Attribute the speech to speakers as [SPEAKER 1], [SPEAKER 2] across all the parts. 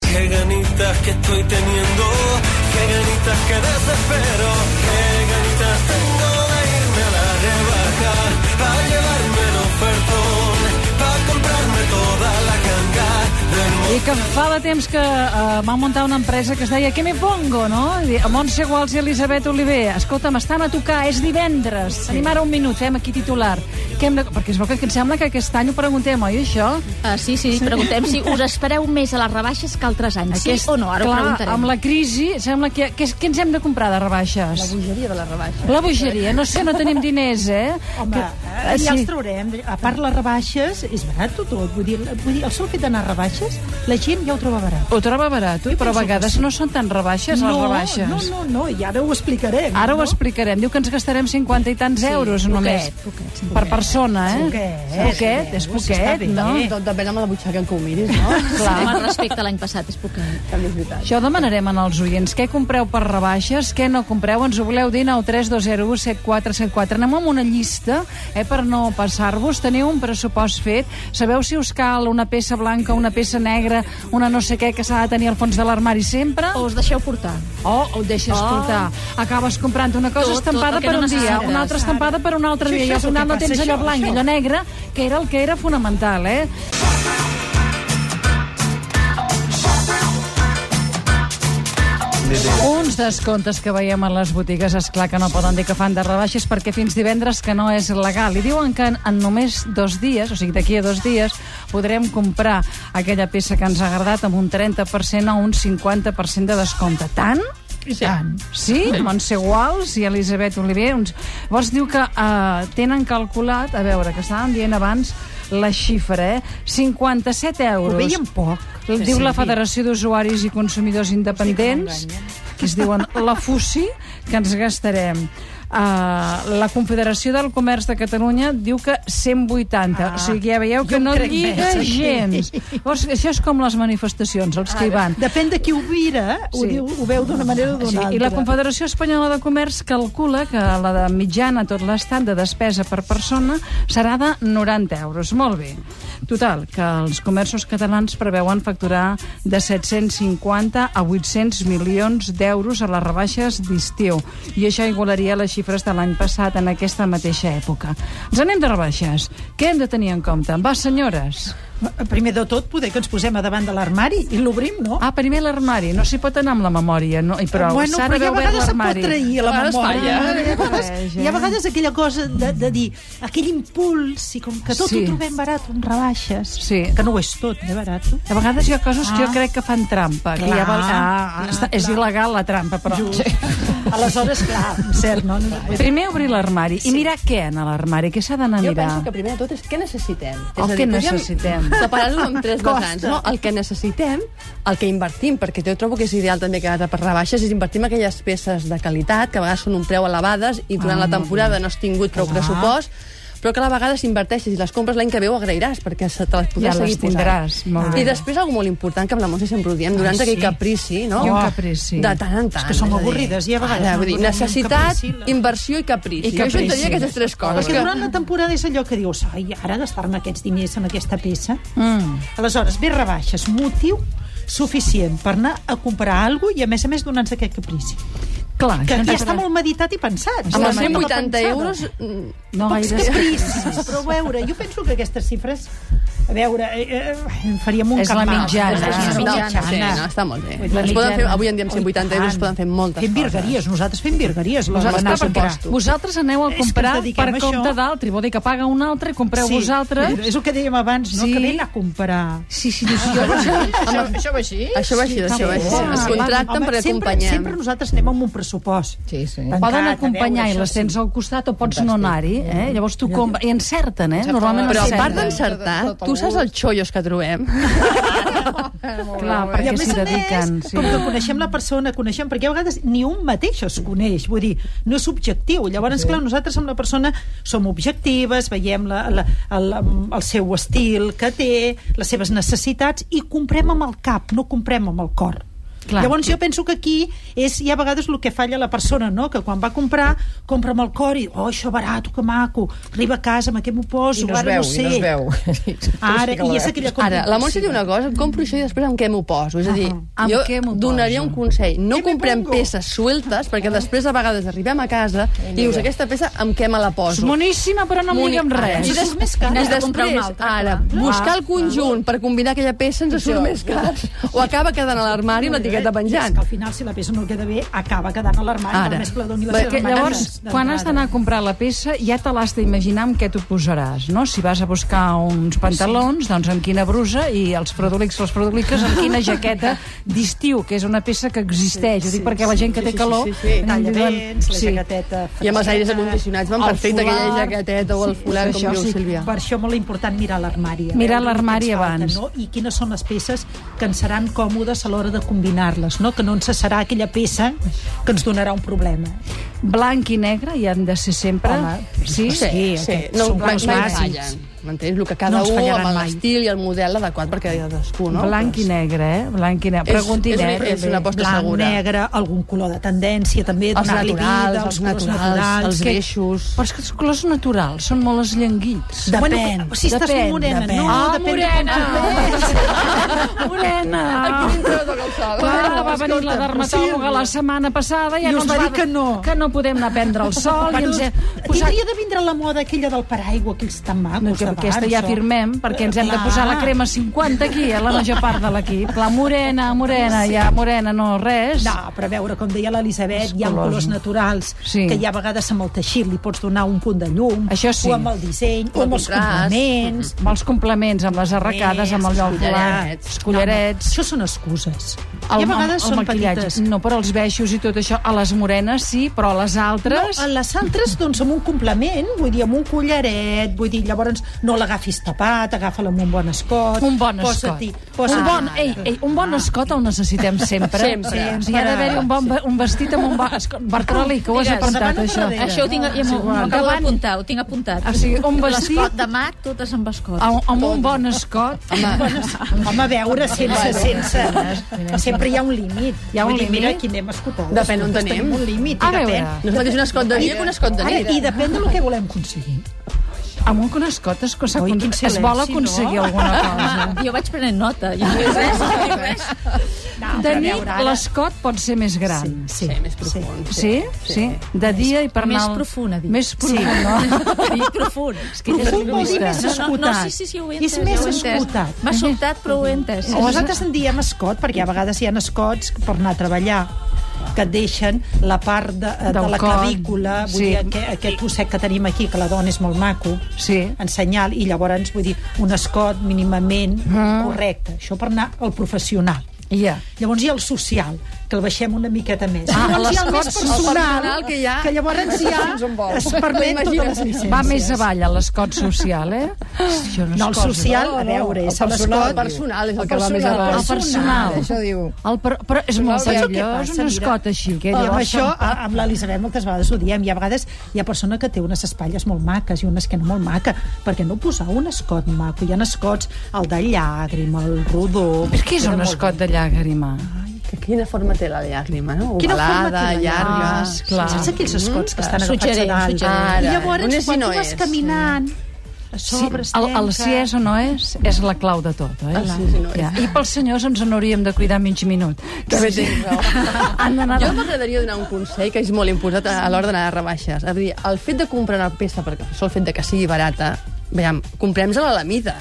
[SPEAKER 1] Qué ganitas que estoy teniendo, qué ganitas que desespero, qué ganitas tengo de irme a la rebaja, para llevarme el ofertón, para comprarme toda la ganga del mundo.
[SPEAKER 2] I que fa de temps que uh, van muntar una empresa que es deia ¿Qué me pongo, no? I dir, A Montse Guals i Elisabet Oliver. Escolta'm, estan a tocar, és divendres. Sí. Tenim ara un minut, fem aquí titular. Que hem de... Perquè és bo que em sembla que aquest any ho preguntem, oi, això?
[SPEAKER 3] Ah, sí, sí, preguntem si us espereu més a les rebaixes que altres anys, sí o no, ara
[SPEAKER 2] clar,
[SPEAKER 3] ho preguntarem.
[SPEAKER 2] Amb la crisi, sembla que... Què, què ens hem de comprar de rebaixes?
[SPEAKER 4] bogeria de la rebaixa.
[SPEAKER 2] La bogeria, no sé, no tenim diners, eh?
[SPEAKER 4] Home,
[SPEAKER 2] Que-
[SPEAKER 4] eh,
[SPEAKER 2] sí.
[SPEAKER 4] ja els traurem. A part, les rebaixes, és barat tot. Vull dir, vull dir, el sol fet d'anar a rebaixes, la gent ja ho troba barat.
[SPEAKER 2] Ho troba barat, oi?
[SPEAKER 4] Jo
[SPEAKER 2] Però a
[SPEAKER 4] penso que
[SPEAKER 2] vegades
[SPEAKER 4] sí.
[SPEAKER 2] no són tan rebaixes, les rebaixes.
[SPEAKER 4] No, no, no, i ara ho explicarem.
[SPEAKER 2] Ara ho
[SPEAKER 4] no?
[SPEAKER 2] explicarem. Diu que ens gastarem 50 i tants euros només.
[SPEAKER 5] poquet,
[SPEAKER 2] per persona, eh?
[SPEAKER 4] Poquet,
[SPEAKER 2] Poquet, és
[SPEAKER 4] sí, està
[SPEAKER 2] poquet,
[SPEAKER 4] bé.
[SPEAKER 2] no?
[SPEAKER 4] Eh.
[SPEAKER 5] Tot depèn amb la butxaca en què ho miris, no?
[SPEAKER 2] Clar.
[SPEAKER 3] Home, respecte a l'any passat, és poquet.
[SPEAKER 5] També és veritat.
[SPEAKER 2] Això ho demanarem als oients. Què compreu per rebaixes? Què no compreu? Ens ho voleu dir? 9 3 2 0 1 7 4 7 4. Anem amb una llista eh, per no passar-vos. Teniu un pressupost fet. Sabeu si us cal una peça blanca, una peça negra, una no sé què que s'ha de tenir al fons de l'armari sempre?
[SPEAKER 3] O us deixeu portar.
[SPEAKER 2] O ho deixes
[SPEAKER 3] Oh.
[SPEAKER 2] portar. Acabes comprant una cosa
[SPEAKER 3] Tot, tot
[SPEAKER 2] estampada
[SPEAKER 3] el que
[SPEAKER 2] per
[SPEAKER 3] no
[SPEAKER 2] un dia,
[SPEAKER 3] necessites.
[SPEAKER 2] una altra estampada per un altre
[SPEAKER 4] Sí,
[SPEAKER 2] dia,
[SPEAKER 4] això
[SPEAKER 2] i al
[SPEAKER 4] és el
[SPEAKER 2] final
[SPEAKER 4] que
[SPEAKER 2] no
[SPEAKER 4] passa,
[SPEAKER 2] tens allò
[SPEAKER 4] això,
[SPEAKER 2] blanc i
[SPEAKER 4] això.
[SPEAKER 2] allò negre, que era el que era fonamental, eh? Uns descomptes que veiem a les botigues, és clar que no poden dir que fan de rebaixes perquè fins divendres que no és legal. I diuen que en, en només dos dies, o sigui, d'aquí a dos dies, podrem comprar aquella peça que ens ha agradat amb un 30% o un 50% de descompte. Tant?
[SPEAKER 4] I tant.
[SPEAKER 2] Sí, Montse Guals i Elisabet Oliver. Uns... Vols diu que eh, tenen calculat, a veure, que estàvem dient abans la xifra, eh? 57 euros.
[SPEAKER 4] Ho veiem poc.
[SPEAKER 2] Diu la Federació d'Usuaris i Consumidors Independents, que es diuen la FUSI, que ens gastarem. Uh, la Confederació del Comerç de Catalunya diu que 180. Ah, o sigui, ja veieu que
[SPEAKER 4] jo em
[SPEAKER 2] no
[SPEAKER 4] crec
[SPEAKER 2] lliga
[SPEAKER 4] més, aquí.
[SPEAKER 2] gens. Llavors, això és com les manifestacions, els que hi van.
[SPEAKER 4] Depèn de qui ho mira, ho,
[SPEAKER 2] Sí.
[SPEAKER 4] diu, ho veu d'una manera o d'una
[SPEAKER 2] Sí,
[SPEAKER 4] altra.
[SPEAKER 2] I la Confederació Espanyola de Comerç calcula que la de mitjana a tot l'estat de despesa per persona serà de 90 euros. Molt bé. Total, que els comerços catalans preveuen facturar de 750 a 800 milions d'euros a les rebaixes d'estiu. I això igualaria les xifres de l'any passat en aquesta mateixa època. Ens anem de rebaixes. Què hem de tenir en compte? Va, senyores.
[SPEAKER 4] Primer de tot, poder que ens posem a davant de l'armari i l'obrim, no?
[SPEAKER 2] Ah, primer l'armari. No s'hi pot anar amb la memòria, no? I però
[SPEAKER 4] bueno,
[SPEAKER 2] s'ha
[SPEAKER 4] però
[SPEAKER 2] d'haver
[SPEAKER 4] ja a
[SPEAKER 2] obert
[SPEAKER 4] vegades se'n pot
[SPEAKER 2] l'armari.
[SPEAKER 4] trair a la
[SPEAKER 5] A vegades
[SPEAKER 4] memòria.
[SPEAKER 5] falla.
[SPEAKER 4] Hi ha vegades,
[SPEAKER 2] Apareix, eh?
[SPEAKER 4] hi ha vegades aquella cosa de, de dir, aquell impuls, i com que tot
[SPEAKER 2] Sí.
[SPEAKER 4] ho trobem barat, un rebaixes,
[SPEAKER 2] Sí.
[SPEAKER 4] que no ho és tot, eh, barat.
[SPEAKER 2] A vegades hi ha coses que jo crec que fan trampa. que
[SPEAKER 4] Ah. Clar,
[SPEAKER 2] ja val... ah,
[SPEAKER 4] clar,
[SPEAKER 2] està, és
[SPEAKER 4] clar.
[SPEAKER 2] il·legal la trampa, però... Sí.
[SPEAKER 4] Aleshores, clar, cert, no? no, no.
[SPEAKER 2] Primer obrir l'armari i mirar què en l'armari, què s'ha d'anar a
[SPEAKER 5] Jo
[SPEAKER 2] mirar.
[SPEAKER 5] penso que primer de tot és què necessitem.
[SPEAKER 2] Oh,
[SPEAKER 5] és a
[SPEAKER 2] què
[SPEAKER 5] dir, podríem
[SPEAKER 2] necessitem?
[SPEAKER 5] Separar-ho en tres
[SPEAKER 4] Costa.
[SPEAKER 5] vessants. No? El que necessitem, el que invertim, perquè jo trobo que és ideal també que ara per rebaixes, és invertir en aquelles peces de qualitat, que a vegades són un preu elevades i
[SPEAKER 2] Ah,
[SPEAKER 5] durant la temporada no has tingut prou pressupost, però que a la vegada s'inverteixes i les compres l'any que veu agrairàs perquè se te les podràs
[SPEAKER 2] Ja les
[SPEAKER 5] seguir posant. Ah.
[SPEAKER 2] tindràs, molt bé.
[SPEAKER 5] I després algo molt important que amb la Montse sempre ho diem durant
[SPEAKER 4] Ai,
[SPEAKER 5] aquell
[SPEAKER 4] sí.
[SPEAKER 5] caprici no?
[SPEAKER 2] I un caprici.
[SPEAKER 5] de tant en tant
[SPEAKER 4] És que som
[SPEAKER 5] a dir,
[SPEAKER 4] avorrides, i a vegades
[SPEAKER 5] ara,
[SPEAKER 4] no
[SPEAKER 5] vull dir,
[SPEAKER 4] podem dir un
[SPEAKER 5] necessitat,
[SPEAKER 4] caprici, la-
[SPEAKER 5] inversió i caprici,
[SPEAKER 2] I
[SPEAKER 5] jo
[SPEAKER 2] caprici.
[SPEAKER 5] juntaria aquestes tres coses
[SPEAKER 4] Perquè durant la temporada és allò que dius, ai, ara gastar-me aquests diners en aquesta peça. Mm. Aleshores, bé rebaixes, motiu suficient per anar a comprar alguna cosa i, a més a més, donar-nos aquest caprici.
[SPEAKER 2] Clar,
[SPEAKER 4] Que
[SPEAKER 2] això ens
[SPEAKER 4] ja
[SPEAKER 2] ha
[SPEAKER 4] està
[SPEAKER 2] agradat.
[SPEAKER 4] molt meditat i pensat.
[SPEAKER 5] Amb
[SPEAKER 2] la
[SPEAKER 5] els
[SPEAKER 2] mare.
[SPEAKER 5] 180 euros... mm,
[SPEAKER 2] No
[SPEAKER 4] Pocs
[SPEAKER 2] gaire...
[SPEAKER 4] capricis, però a veure, jo penso que aquestes xifres... A veure, eh, eh, faríem un
[SPEAKER 2] És
[SPEAKER 4] cap
[SPEAKER 2] la
[SPEAKER 4] mal.
[SPEAKER 2] mitjana.
[SPEAKER 4] És la
[SPEAKER 2] És
[SPEAKER 5] no,
[SPEAKER 2] la
[SPEAKER 4] mitjana.
[SPEAKER 5] Sí, no, està molt bé.
[SPEAKER 2] la
[SPEAKER 5] Es poden fer,
[SPEAKER 2] mitjana.
[SPEAKER 5] avui en dia amb 180 euros es poden fer moltes
[SPEAKER 4] fem
[SPEAKER 5] coses.
[SPEAKER 4] virgueries, nosaltres fem virgueries.
[SPEAKER 5] Nosaltres
[SPEAKER 4] Nosaltres
[SPEAKER 5] per
[SPEAKER 4] comprar.
[SPEAKER 5] impostos.
[SPEAKER 2] Vosaltres aneu a
[SPEAKER 4] És que ens
[SPEAKER 2] comprar
[SPEAKER 4] dediquem
[SPEAKER 2] per
[SPEAKER 4] a
[SPEAKER 2] compte
[SPEAKER 4] això.
[SPEAKER 2] d'altri, vol dir que paga un altre, compreu
[SPEAKER 4] Sí,
[SPEAKER 2] vosaltres...
[SPEAKER 4] És el que dèiem abans, no?
[SPEAKER 2] Sí.
[SPEAKER 4] Que ven a comprar.
[SPEAKER 2] Sí, sí, dius, jo...
[SPEAKER 5] Amb-
[SPEAKER 6] Això va així?
[SPEAKER 5] Això va així, això va així.
[SPEAKER 2] Sí,
[SPEAKER 5] Es
[SPEAKER 2] sí.
[SPEAKER 5] contracten
[SPEAKER 4] Home,
[SPEAKER 5] perquè
[SPEAKER 4] sempre,
[SPEAKER 5] acompanyem.
[SPEAKER 4] Sempre nosaltres anem amb un pressupost.
[SPEAKER 6] Sí, sí.
[SPEAKER 4] Tancat,
[SPEAKER 2] Poden
[SPEAKER 4] a
[SPEAKER 2] acompanyar
[SPEAKER 4] veure,
[SPEAKER 2] i les
[SPEAKER 4] això Mm.
[SPEAKER 2] tens al costat o pots no anar-hi, eh? Llavors tu compra... I encerten, eh? Normalment
[SPEAKER 5] Però a
[SPEAKER 2] encerten.
[SPEAKER 5] part d'encertar,
[SPEAKER 6] Tot- tot
[SPEAKER 5] tu saps els xollos que trobem?
[SPEAKER 2] Clar,
[SPEAKER 4] I a
[SPEAKER 2] perquè
[SPEAKER 4] més
[SPEAKER 2] s'hi
[SPEAKER 4] a
[SPEAKER 2] dediquen.
[SPEAKER 4] més,
[SPEAKER 2] sí.
[SPEAKER 4] com que coneixem la persona, coneixem, perquè a vegades ni un mateix es coneix, vull dir, no és objectiu. Llavors, clar, nosaltres amb la persona som objectives, veiem la, la, el, el seu estil que té, les seves necessitats, i comprem amb el cap, no comprem amb el cor.
[SPEAKER 2] Clar.
[SPEAKER 4] Llavors jo penso que aquí és, hi ha vegades el que falla la persona, no? que quan va a comprar, compra amb el cor i, oh, això barat, que maco, arriba a casa, amb què m'ho poso,
[SPEAKER 6] I no es
[SPEAKER 4] ara
[SPEAKER 6] veu,
[SPEAKER 4] no sé.
[SPEAKER 6] i no es veu.
[SPEAKER 4] Ara,
[SPEAKER 6] Sí que la
[SPEAKER 4] i és
[SPEAKER 6] veu.
[SPEAKER 4] aquella compra
[SPEAKER 5] Ara, la
[SPEAKER 4] impulsiva.
[SPEAKER 5] Montse diu una cosa, em compro això i després amb què m'ho poso? És a dir,
[SPEAKER 2] Ah, amb què m'ho
[SPEAKER 5] jo donaria
[SPEAKER 2] poso?
[SPEAKER 5] un consell. No
[SPEAKER 4] Què me
[SPEAKER 5] comprem
[SPEAKER 4] pongo?
[SPEAKER 5] peces sueltes, perquè després a vegades arribem a casa i dius, aquesta peça amb què me la
[SPEAKER 2] És
[SPEAKER 5] poso?
[SPEAKER 2] moníssima, però no em lliga amb
[SPEAKER 5] I
[SPEAKER 2] res.
[SPEAKER 4] Ara,
[SPEAKER 5] des,
[SPEAKER 4] surt més car.
[SPEAKER 5] I
[SPEAKER 3] N'has de comprar
[SPEAKER 5] després,
[SPEAKER 3] una altra,
[SPEAKER 5] ara, buscar el conjunt per combinar aquella peça ens surt més car. O acaba quedant a l'armari amb l'etiqueta
[SPEAKER 4] És
[SPEAKER 5] penjant.
[SPEAKER 4] que al final, si la peça no queda bé, acaba quedant a l'armari,
[SPEAKER 5] Ara.
[SPEAKER 4] per més que la doni la
[SPEAKER 5] Bé,
[SPEAKER 4] seva
[SPEAKER 2] Que,
[SPEAKER 4] mare.
[SPEAKER 2] llavors, quan has d'anar a comprar la peça, ja te l'has d'imaginar amb què t'ho posaràs, no? Si vas a buscar uns pantalons, doncs amb quina brusa, i els fredolics, les fredoliques, amb quina jaqueta d'estiu, que és una peça que existeix. Sí, Ho dic perquè la gent que té calor...
[SPEAKER 4] Sí, sí, sí. Talla vents, la
[SPEAKER 2] Sí.
[SPEAKER 4] jaqueteta...
[SPEAKER 5] I amb els aires
[SPEAKER 4] fresqueta,
[SPEAKER 5] acondicionats van
[SPEAKER 4] eh, el
[SPEAKER 5] perfecte aquella
[SPEAKER 4] foulard.
[SPEAKER 5] jaqueteta o el foulard,
[SPEAKER 2] això
[SPEAKER 5] com diu
[SPEAKER 2] sí.
[SPEAKER 5] Sílvia.
[SPEAKER 4] Per això molt important mirar l'armari. a
[SPEAKER 2] Mirar
[SPEAKER 4] veure
[SPEAKER 2] l'armari
[SPEAKER 4] què ens falta,
[SPEAKER 2] abans.
[SPEAKER 4] No? I quines són les peces que ens seran còmodes a l'hora de combinar-les, no? que no ens serà aquella peça que ens donarà un problema.
[SPEAKER 2] Blanc i negre hi han de ser sempre.
[SPEAKER 4] Home,
[SPEAKER 2] sí,
[SPEAKER 5] Sí, sí.
[SPEAKER 4] aquests
[SPEAKER 5] No,
[SPEAKER 4] són
[SPEAKER 5] mai,
[SPEAKER 4] els
[SPEAKER 5] mai
[SPEAKER 4] bàsics.
[SPEAKER 5] fallen. M'entens? El que cada
[SPEAKER 4] No ens
[SPEAKER 5] un,
[SPEAKER 4] fallaran
[SPEAKER 5] amb
[SPEAKER 4] mai.
[SPEAKER 5] l'estil i el model adequat per cadascú, no?
[SPEAKER 2] Blanc i negre, eh? Blanc i negre.
[SPEAKER 5] És-
[SPEAKER 2] Pregunti
[SPEAKER 5] és una-
[SPEAKER 2] negre.
[SPEAKER 5] és una aposta
[SPEAKER 4] Blanc,
[SPEAKER 5] segura.
[SPEAKER 4] negre, algun color de tendència, també,
[SPEAKER 5] Els
[SPEAKER 4] donar-li
[SPEAKER 5] naturals,
[SPEAKER 4] vida,
[SPEAKER 5] els
[SPEAKER 4] colors
[SPEAKER 5] naturals, els
[SPEAKER 4] que-
[SPEAKER 5] greixos.
[SPEAKER 2] Però és que els colors naturals són molt esllanguits.
[SPEAKER 4] Depèn.
[SPEAKER 2] Bueno,
[SPEAKER 4] si estàs
[SPEAKER 2] depèn,
[SPEAKER 4] morena,
[SPEAKER 2] depèn.
[SPEAKER 4] no,
[SPEAKER 2] Ah,
[SPEAKER 4] depèn
[SPEAKER 2] morena!
[SPEAKER 4] de
[SPEAKER 2] morena! Clar,
[SPEAKER 5] Clar,
[SPEAKER 2] va venir la dermatòloga la setmana passada i,
[SPEAKER 4] I
[SPEAKER 2] ja
[SPEAKER 4] us
[SPEAKER 2] ens
[SPEAKER 4] va dir
[SPEAKER 2] va
[SPEAKER 4] que no.
[SPEAKER 2] Que no podem anar a prendre el sol i ens hem posat...
[SPEAKER 4] Tindria doncs, de vindre la moda aquella del paraigua, aquells tan
[SPEAKER 2] No,
[SPEAKER 4] macos
[SPEAKER 2] que
[SPEAKER 4] d'abans.
[SPEAKER 2] aquesta ja
[SPEAKER 4] o-
[SPEAKER 2] firmem, perquè ens hem de
[SPEAKER 4] Clar.
[SPEAKER 2] posar la crema 50 aquí, a la major part de l'equip. La morena, morena, ja morena, no res.
[SPEAKER 4] No, però a veure, com deia l'Elisabet, hi ha
[SPEAKER 2] colors.
[SPEAKER 4] colors naturals
[SPEAKER 2] Sí.
[SPEAKER 4] que hi ha vegades amb el teixit li pots donar un punt de llum,
[SPEAKER 2] Això sí.
[SPEAKER 4] o amb el disseny,
[SPEAKER 5] O
[SPEAKER 4] o amb els
[SPEAKER 5] contrast.
[SPEAKER 4] complements.
[SPEAKER 2] Amb els complements, amb les arracades, amb allò...
[SPEAKER 5] els collarets.
[SPEAKER 2] els collarets.
[SPEAKER 4] Això són excuses.
[SPEAKER 2] El,
[SPEAKER 4] I a vegades
[SPEAKER 2] el, el
[SPEAKER 4] són
[SPEAKER 2] maquillatge.
[SPEAKER 4] petites.
[SPEAKER 2] No, però els beixos i tot això, a les morenes sí, però a les altres...
[SPEAKER 4] No, a les altres, doncs, amb un complement, vull dir, amb un collaret, vull dir, llavors no l'agafis tapat, agafa-la amb un bon escot.
[SPEAKER 2] Un bon escot.
[SPEAKER 4] posa-t'hi- Ah.
[SPEAKER 2] un
[SPEAKER 4] Posa
[SPEAKER 2] bon, ei, ei, un bon escot el necessitem sempre.
[SPEAKER 5] Sempre.
[SPEAKER 2] O sigui, hi ha d'haver-hi un, bon, ve- un vestit amb un bon escot. Bertroli, que ho has
[SPEAKER 4] Digues,
[SPEAKER 2] apuntat,
[SPEAKER 4] davant o
[SPEAKER 2] això.
[SPEAKER 4] darrere?
[SPEAKER 3] Això ho tinc, ja m'ho m'ho acabo d'apuntar, ho tinc apuntat.
[SPEAKER 2] O sigui, un
[SPEAKER 3] L'escot
[SPEAKER 2] vestit
[SPEAKER 3] de mag, totes amb escot.
[SPEAKER 2] amb, amb un bon escot.
[SPEAKER 4] Home, a veure, sense, sense... Sempre hi ha un límit.
[SPEAKER 2] Hi ha un
[SPEAKER 4] Vull dir, Mira,
[SPEAKER 2] límit?
[SPEAKER 4] quin hem escoltat.
[SPEAKER 5] Depèn on
[SPEAKER 4] Nosaltres
[SPEAKER 5] tenim.
[SPEAKER 4] un límit,
[SPEAKER 2] A
[SPEAKER 4] i depèn.
[SPEAKER 2] veure.
[SPEAKER 5] No és el mateix un escot de dia que un escot de
[SPEAKER 4] Ara,
[SPEAKER 5] nit.
[SPEAKER 4] I depèn del que volem aconseguir.
[SPEAKER 2] Amb un escot es, es,
[SPEAKER 4] Ui, quin
[SPEAKER 2] es, es vol
[SPEAKER 4] silenci,
[SPEAKER 2] aconseguir
[SPEAKER 4] no?
[SPEAKER 2] alguna cosa.
[SPEAKER 3] Ah, jo vaig prenent nota. Jo no he res, no he res.
[SPEAKER 4] No,
[SPEAKER 2] De
[SPEAKER 4] però a
[SPEAKER 2] nit
[SPEAKER 4] veure, ara-
[SPEAKER 2] l'escot pot ser més gran.
[SPEAKER 4] Sí,
[SPEAKER 5] Més profund.
[SPEAKER 2] Sí? Sí. De dia i per
[SPEAKER 3] Més
[SPEAKER 2] anar... al-
[SPEAKER 3] profund, ha dit.
[SPEAKER 2] Més profund, no?
[SPEAKER 3] Dic profund. És que
[SPEAKER 4] Profund vol dir
[SPEAKER 3] No,
[SPEAKER 4] més
[SPEAKER 3] no,
[SPEAKER 4] escoltat.
[SPEAKER 3] no, sí, sí, sí, ho he entès.
[SPEAKER 4] És més
[SPEAKER 3] ho he entès.
[SPEAKER 4] escoltat.
[SPEAKER 3] M'ha sobtat, però ho he entès.
[SPEAKER 4] O nosaltres en diem escot, perquè a vegades hi ha escots per anar a treballar que et deixen la part de, eh, de
[SPEAKER 2] Del
[SPEAKER 4] la
[SPEAKER 2] coll.
[SPEAKER 4] clavícula, vull
[SPEAKER 2] Sí.
[SPEAKER 4] dir, aquest, aquest gosset que tenim aquí, que la dona és molt maco,
[SPEAKER 2] Sí.
[SPEAKER 4] en senyal, i llavors, vull dir, un escot mínimament correcte. Això per anar al professional.
[SPEAKER 2] Ja.
[SPEAKER 4] Llavors hi ha el social, que el baixem una miqueta més.
[SPEAKER 2] Ah,
[SPEAKER 4] llavors hi ha el
[SPEAKER 2] l'escot
[SPEAKER 4] més
[SPEAKER 5] El
[SPEAKER 4] personal,
[SPEAKER 5] personal que hi ha-
[SPEAKER 4] que llavors hi ha,
[SPEAKER 5] Ens envolta.
[SPEAKER 4] es permet totes les llicències.
[SPEAKER 2] Va més avall a l'escot social, eh? Jo
[SPEAKER 4] No, el
[SPEAKER 2] escoto.
[SPEAKER 4] social, a veure, és
[SPEAKER 5] El
[SPEAKER 4] l'escot...
[SPEAKER 5] personal és el que va més
[SPEAKER 2] El
[SPEAKER 5] avall.
[SPEAKER 2] personal.
[SPEAKER 6] Això diu.
[SPEAKER 2] El per... Però és molt
[SPEAKER 4] Saps el que
[SPEAKER 2] perillós,
[SPEAKER 4] passa,
[SPEAKER 2] un
[SPEAKER 4] mira?
[SPEAKER 2] escot així. Que
[SPEAKER 4] I
[SPEAKER 2] dius,
[SPEAKER 4] amb això,
[SPEAKER 2] "Som
[SPEAKER 4] a- amb l'Elisabet moltes vegades ho diem, hi ha vegades hi ha persona que té unes espatlles molt maques i una esquena molt maca, perquè no posar un escot maco? Hi ha escots, el de llàgrima, el rodó...
[SPEAKER 2] Però què és un escot de llàgrima?
[SPEAKER 5] Que Quina forma té la llàgrima, no?
[SPEAKER 4] Quina forma
[SPEAKER 5] Ovalada,
[SPEAKER 4] té la
[SPEAKER 5] llarga...
[SPEAKER 2] Ah, clar. Mm.
[SPEAKER 4] Saps aquells escots que estan agafats
[SPEAKER 3] Suggerent,
[SPEAKER 4] a dalt?
[SPEAKER 3] suggerent.
[SPEAKER 4] I llavors,
[SPEAKER 5] Ara, on és i
[SPEAKER 4] quan
[SPEAKER 5] no
[SPEAKER 4] tu vas
[SPEAKER 5] és?
[SPEAKER 4] caminant, a
[SPEAKER 2] Sí,
[SPEAKER 4] sobre es
[SPEAKER 2] el, el si
[SPEAKER 4] trenca.
[SPEAKER 2] és o no és, és la clau de tot, oi?
[SPEAKER 5] sí, sí, no és.
[SPEAKER 2] ja. I pels senyors ens en hauríem de cuidar mig minut. Que bé tens raó. Han d'anar...
[SPEAKER 5] Jo m'agradaria donar un consell que és molt important a a l'hora d'anar a rebaixes. És a dir, el fet de comprar una peça, perquè el sol fet de que sigui barata, veiem, comprem-se-la a la mida.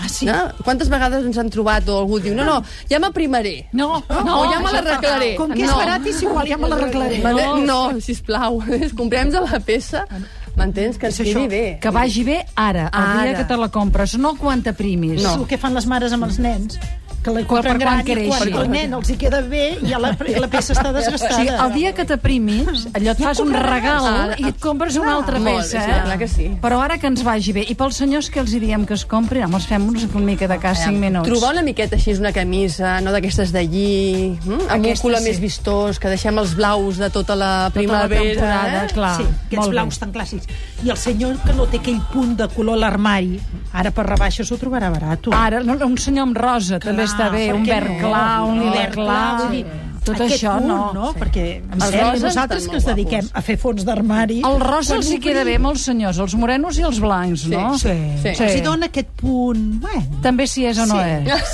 [SPEAKER 4] Ah, sí?
[SPEAKER 5] No? Quantes vegades ens han trobat o algú diu, no, no, ja m'aprimaré.
[SPEAKER 2] No, no,
[SPEAKER 5] o ja me l'arreglaré.
[SPEAKER 4] Com que és barat i és igual, ja me l'arreglaré.
[SPEAKER 5] No, no sisplau, comprem-se la peça,
[SPEAKER 4] Ah,
[SPEAKER 5] m'entens? Que ens quedi bé.
[SPEAKER 2] Que vagi bé ara, el dia
[SPEAKER 5] Ara.
[SPEAKER 2] que te la compres, no quan t'aprimis.
[SPEAKER 5] No.
[SPEAKER 4] És el que fan les mares amb els nens que la compren
[SPEAKER 2] quan
[SPEAKER 4] gran i
[SPEAKER 2] creixi.
[SPEAKER 4] quan el nen els hi queda bé i ja la, la peça està
[SPEAKER 2] O sigui,
[SPEAKER 4] desgastada.
[SPEAKER 2] el dia que t'aprimis, allò et fas un regal i et compres una altra
[SPEAKER 5] Molt bé,
[SPEAKER 2] peça.
[SPEAKER 5] sí,
[SPEAKER 2] eh?
[SPEAKER 5] clar que sí.
[SPEAKER 2] Però ara que ens vagi bé. I pels senyors que els hi diem que es comprin, home, els fem una mica de cas 5 minuts.
[SPEAKER 5] Trobar una miqueta així una camisa, no d'aquestes d'allí, mm? amb
[SPEAKER 2] Aquesta
[SPEAKER 5] un color
[SPEAKER 2] sí.
[SPEAKER 5] més vistós, que deixem els blaus de tota la primavera.
[SPEAKER 2] temporada,
[SPEAKER 5] eh?
[SPEAKER 2] clar.
[SPEAKER 4] Sí, aquests
[SPEAKER 2] Molt bé.
[SPEAKER 4] blaus tan clàssics. I el senyor que no té aquell punt de color a l'armari, ara per rebaixes ho
[SPEAKER 2] Ah,
[SPEAKER 4] trobarà barat.
[SPEAKER 2] Ara, no, un senyor amb rosa també està bé, un verd clar, un lila clar.
[SPEAKER 4] Vull dir,
[SPEAKER 2] Tot
[SPEAKER 4] Aquest
[SPEAKER 2] això
[SPEAKER 4] punt,
[SPEAKER 2] no.
[SPEAKER 4] no? Perquè, en
[SPEAKER 5] Els
[SPEAKER 4] sèrio,
[SPEAKER 5] roses
[SPEAKER 4] nosaltres
[SPEAKER 5] estan
[SPEAKER 4] que ens
[SPEAKER 5] molt
[SPEAKER 4] dediquem
[SPEAKER 5] guapos.
[SPEAKER 4] a fer fons d'armari...
[SPEAKER 2] El rosa els hi
[SPEAKER 4] quan
[SPEAKER 2] queda
[SPEAKER 4] obrim-
[SPEAKER 2] bé molts senyors, els morenos i els blancs, no?
[SPEAKER 4] Doncs Sí,
[SPEAKER 5] Sí.
[SPEAKER 4] sí. sí. Els hi dona aquest punt... Bueno,
[SPEAKER 2] També si és o no
[SPEAKER 4] Sí.
[SPEAKER 2] és.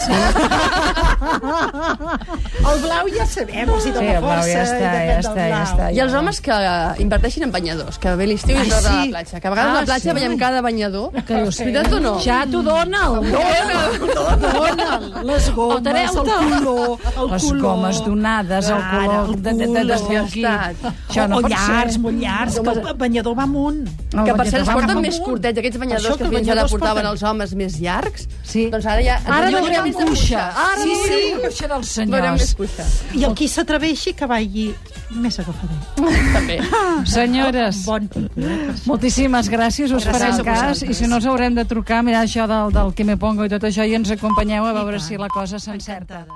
[SPEAKER 4] el blau ja sabem, els hi
[SPEAKER 2] Sí,
[SPEAKER 4] dona
[SPEAKER 2] el blau ja
[SPEAKER 4] força. i
[SPEAKER 2] està, ja
[SPEAKER 4] depèn del
[SPEAKER 2] està, ja
[SPEAKER 4] blau.
[SPEAKER 2] està.
[SPEAKER 5] I els homes que inverteixin en banyadors, que ve l'estiu i
[SPEAKER 4] Ai,
[SPEAKER 5] es tornen a
[SPEAKER 4] sí.
[SPEAKER 5] la platja. Que a vegades
[SPEAKER 2] Ah,
[SPEAKER 5] a la platja
[SPEAKER 2] sí.
[SPEAKER 5] veiem cada banyador.
[SPEAKER 2] Que dius,
[SPEAKER 5] Veritat o no?
[SPEAKER 2] Ja t'ho dona el
[SPEAKER 4] Dona les gomes, el
[SPEAKER 2] Adoreu-te.
[SPEAKER 4] color, el
[SPEAKER 2] les
[SPEAKER 4] color.
[SPEAKER 2] gomes donades, el
[SPEAKER 4] Ara,
[SPEAKER 2] color
[SPEAKER 4] el
[SPEAKER 2] de, de, de
[SPEAKER 4] color.
[SPEAKER 2] desblanquir. Això
[SPEAKER 4] o,
[SPEAKER 2] no
[SPEAKER 4] o
[SPEAKER 2] pot
[SPEAKER 4] llargs,
[SPEAKER 2] ser.
[SPEAKER 4] molt llargs, que el banyador va amunt.
[SPEAKER 2] El
[SPEAKER 5] Que per
[SPEAKER 2] banyador
[SPEAKER 5] cert es
[SPEAKER 2] va cap
[SPEAKER 5] porten
[SPEAKER 2] amunt.
[SPEAKER 5] més curtets, aquests
[SPEAKER 4] Això
[SPEAKER 5] banyadors
[SPEAKER 4] que
[SPEAKER 5] que fins ara
[SPEAKER 4] banyadors
[SPEAKER 5] portaven
[SPEAKER 4] porten.
[SPEAKER 5] els homes més llargs.
[SPEAKER 2] Sí.
[SPEAKER 5] Doncs ara ja...
[SPEAKER 2] Ara no
[SPEAKER 5] veurem
[SPEAKER 2] veurem
[SPEAKER 5] més de
[SPEAKER 2] cuixa. Ara
[SPEAKER 5] Sí,
[SPEAKER 2] no
[SPEAKER 5] sí.
[SPEAKER 2] veurem cuixa dels
[SPEAKER 5] Veurem
[SPEAKER 2] senyors.
[SPEAKER 5] més cuixa.
[SPEAKER 4] I el qui s'atreveixi que vagi més agafadet.
[SPEAKER 5] També.
[SPEAKER 2] Senyores,
[SPEAKER 4] Bon tipus.
[SPEAKER 2] moltíssimes gràcies. Us
[SPEAKER 4] Gràcies
[SPEAKER 2] farem
[SPEAKER 4] a
[SPEAKER 2] cas.
[SPEAKER 4] vosaltres.
[SPEAKER 2] I si no us haurem de trucar, mirar això del, del que me pongo i tot això i ens acompanyeu a veure si la cosa s'encerta.